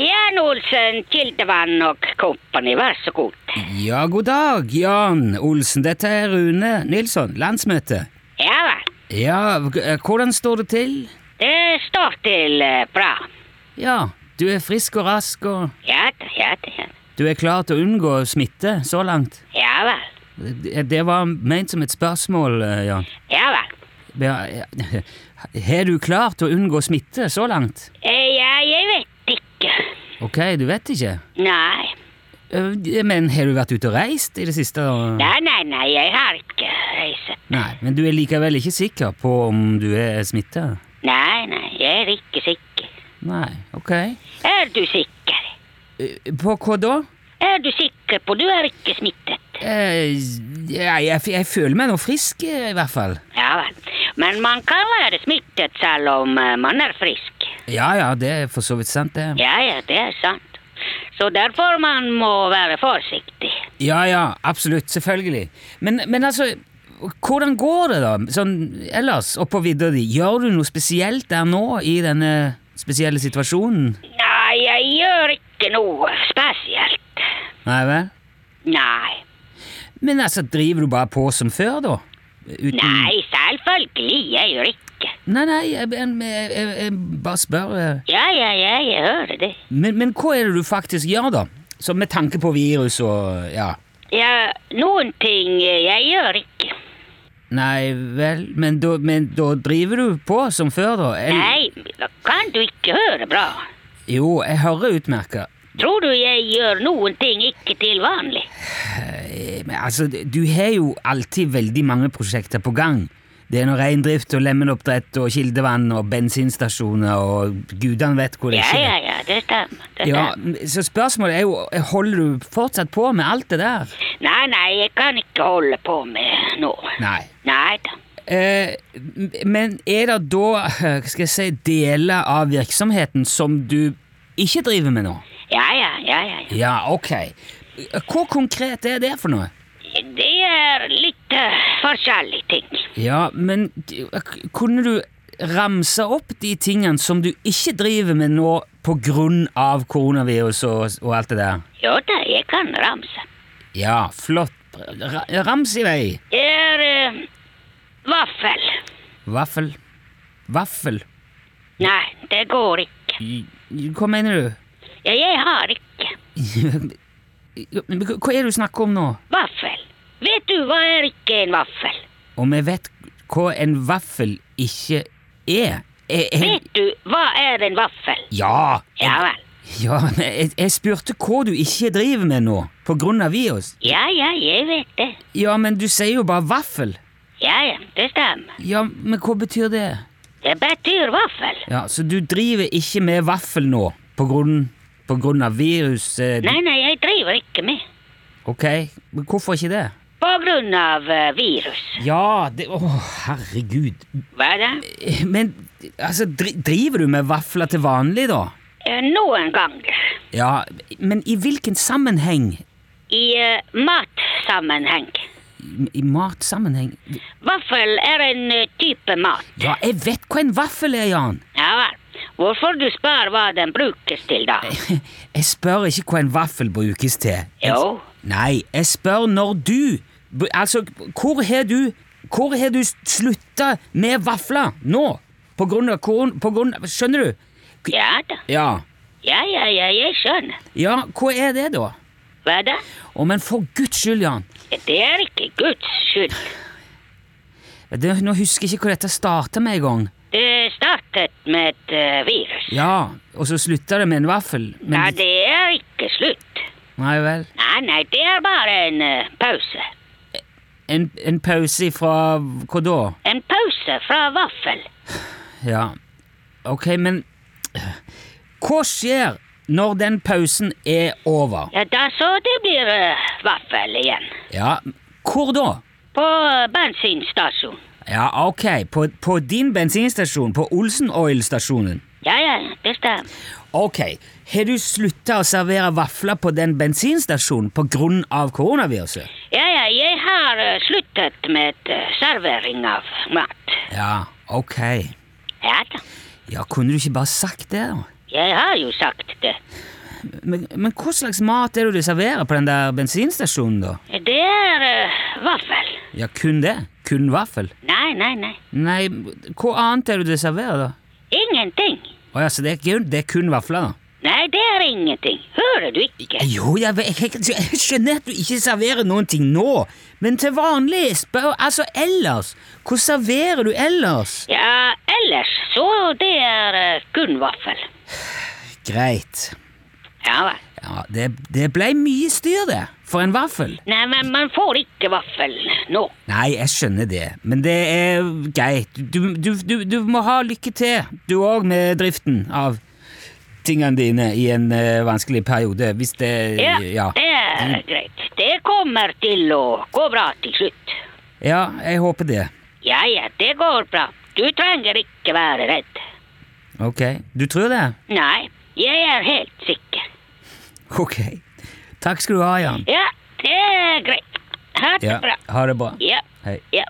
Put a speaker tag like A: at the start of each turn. A: Jan Olsen, Kildevann og Company, vær så god.
B: Ja, god dag, Jan Olsen. Dette er Rune Nilsson, landsmøte.
A: Ja vel.
B: Ja, g- eh, hvordan står det til?
A: Det står til eh, bra.
B: Ja, du er frisk og rask, og
A: Ja da, ja da. ja.
B: du er klar til å unngå smitte så langt.
A: Ja vel.
B: Det det var ment som et spørsmål, eh, Jan.
A: Ja vel.
B: Ja, ja, Har du klart å unngå smitte så langt?
A: Eh, Ja, jeg vet ikke.
B: Ok, du vet ikke.
A: Nei.
B: Eh, Men har du vært ute og reist i det siste? og-
A: Nei, nei, nei, jeg har ikke reist.
B: Nei, men du er likevel ikke sikker på om du er smitta?
A: Nei, nei, jeg er ikke sikker.
B: Nei, ok.
A: Er du sikker?
B: Eh, På hva da?
A: Er du sikker på du er ikke smittet?
B: Eh, jeg, jeg, jeg føler meg nå frisk, eh, i hvert fall.
A: Ja vel. Men man kan være smittet selv om eh, man er frisk.
B: Ja ja, det er for så vidt sant, det.
A: Ja, ja, det er sant. Så derfor man må være forsiktig.
B: Ja ja, absolutt. Selvfølgelig. Men, men altså, hvordan går det, da? Sånn ellers, oppå vidda di? Gjør du noe spesielt der nå, i denne spesielle situasjonen?
A: Nei, jeg gjør ikke noe spesielt.
B: Nei vel?
A: Nei.
B: Men altså, driver du bare på som før, da? Uten
A: Nei, selvfølgelig. Jeg gjør ikke.
B: Nei, nei, jeg, jeg, jeg, jeg, jeg bare spør. eh.
A: Ja, ja, ja, jeg hører det.
B: Men, men hva er det du faktisk gjør, da? Så med tanke på virus og ja.
A: Ja, noen ting eh, jeg gjør ikke.
B: Nei vel, men da, men da driver du på som før, da? Eller-
A: Nei, kan du ikke høre bra?
B: Jo, jeg hører utmerka.
A: Tror du jeg gjør noen ting ikke til vanlig?
B: Men altså, du har jo alltid veldig mange prosjekter på gang. Det er noe reindrift og lemenoppdrett og kildevann og bensinstasjoner og gudene vet hvor det
A: Ja,
B: ikke
A: ja,
B: er.
A: ja, det stemmer. Det
B: Ja,
A: stemmer.
B: så spørsmålet er jo, holder du fortsatt på med alt det der?
A: Nei, nei, jeg kan ikke holde på med noe.
B: Nei.
A: Nei da.
B: Eh, men er det da, hva skal jeg si, deler av virksomheten som du ikke driver med nå?
A: Ja, ja, ja, ja. ja.
B: Ja, ok. Hvor konkret er det for noe?
A: Det er litt eh, forskjellige ting.
B: Ja, men k- kunne du ramse opp de tingene som du ikke driver med nå på grunn av koronavirus og, og alt det der?
A: Jo da, jeg kan ramse.
B: Ja, flott. Ra rams i vei.
A: Det er eh, vaffel.
B: Vaffel. Vaffel.
A: Nei, det går ikke.
B: I- Hva mener du?
A: Ja, jeg har ikke
B: Hva er det du snakker om nå?
A: vaffel. Vet du hva er ikke en vaffel?
B: Om jeg vet hva en vaffel ikke er? Jeg, jeg,
A: Vet du hva er en vaffel?
B: ja!
A: Ja vel.
B: Ja, men jeg, jeg spurte hva du ikke driver med nå, på grunn av virus.
A: Ja, ja, jeg vet det.
B: Ja, men du sier jo bare vaffel.
A: Ja, ja, det stemmer.
B: Ja, men hva betyr det?
A: Det betyr vaffel.
B: Ja, Så du driver ikke med vaffel nå, på grunn, på grunn av virus? Eh,
A: Nei, nei, jeg driver ikke med.
B: Ok, men hvorfor ikke det?
A: På grunn av eh, virus.
B: Ja, det Å, herregud.
A: Hva da?
B: Eh, Men altså, dri, driver du med vafler til vanlig, da?
A: Eh, Noen ganger.
B: Ja, men i hvilken sammenheng?
A: I eh, matsammenheng.
B: I, i matsammenheng?
A: Vaffel er en eh, type mat.
B: Ja, jeg vet hva en vaffel er, Jan!
A: Ja vel. Hvorfor du spør hva den brukes til, da?
B: Jeg spør ikke hva en vaffel brukes til.
A: Jo.
B: Nei, jeg spør når du br- Altså, hvor har du Hvor har du slutta med vafler nå? På grunn av korn... På grunn av Skjønner du? K-
A: Ja da.
B: Ja.
A: Ja, ja, ja, jeg skjønner.
B: Ja, hva er det, da?
A: Hva da?
B: Å, men for guds skyld, Jan.
A: Det er ikke Guds skyld.
B: Det, nå husker jeg ikke hvor dette starta med en gang.
A: Det startet med et eh, virus.
B: Ja, og så slutta det med en vaffel. Men,
A: Ja, det er ikke slutt.
B: Nei vel.
A: Nei, nei, det er bare en eh, pause.
B: En, en pause ifra Hva da?
A: En pause fra vaffel.
B: Ja, ok, men Hva skjer når den pausen er over?
A: Ja, da så det blir eh, vaffel igjen.
B: Ja, hvor da?
A: På eh, bensinstasjon.
B: Ja, ok, på, på din bensinstasjon, på Olsen Oil-stasjonen.
A: Ja, ja, det stemmer.
B: Ok, har du slutta å servere vafler på den bensinstasjonen på grunn av koronaviruset?
A: Ja, ja, jeg har eh, sluttet med eh, servering av mat.
B: Ja, ok.
A: Ja da.
B: Ja, kunne du ikke bare sagt det, da?
A: Jeg har jo sagt det.
B: Men, men hva slags mat er det du serverer på den der bensinstasjonen, da?
A: Det er eh, vaffel.
B: Ja, kun det? Kun vaffel?
A: Nei, nei, nei.
B: Nei, hva annet er det du serverer, da?
A: Ingenting.
B: Å ja, så det er, kun, det er kun vafler, da?
A: Nei, det er ingenting. Hører du ikke?
B: Jo, jeg, vet- jeg, jeg skjønner at du ikke serverer noen ting nå, men til vanlig spør Altså, ellers? Hva serverer du ellers?
A: Ja, ellers så det er eh, kun vaffel.
B: Greit.
A: Ja vel.
B: Ja, det, det ble mye styr, det. For en vaffel.
A: Nei, men man får ikke vaffel nå.
B: Nei, jeg skjønner det, men det er greit. Du, du, du, du må ha lykke til, du òg, med driften av tingene dine i en eh, vanskelig periode, hvis det
A: Ja,
B: Eh, ja. Mm.
A: det er greit. Det kommer til å gå bra til slutt.
B: Ja, jeg håper det.
A: Ja, ja, det går bra. Du trenger ikke være redd.
B: Ok. Du tror det?
A: Nei, jeg er helt sikker.
B: Ok. Takk skal du ha, Jan.
A: Ja, det er greit. Ha det
B: Ja,
A: bra.
B: ha det bra.
A: Ja,
B: Hei.
A: ja.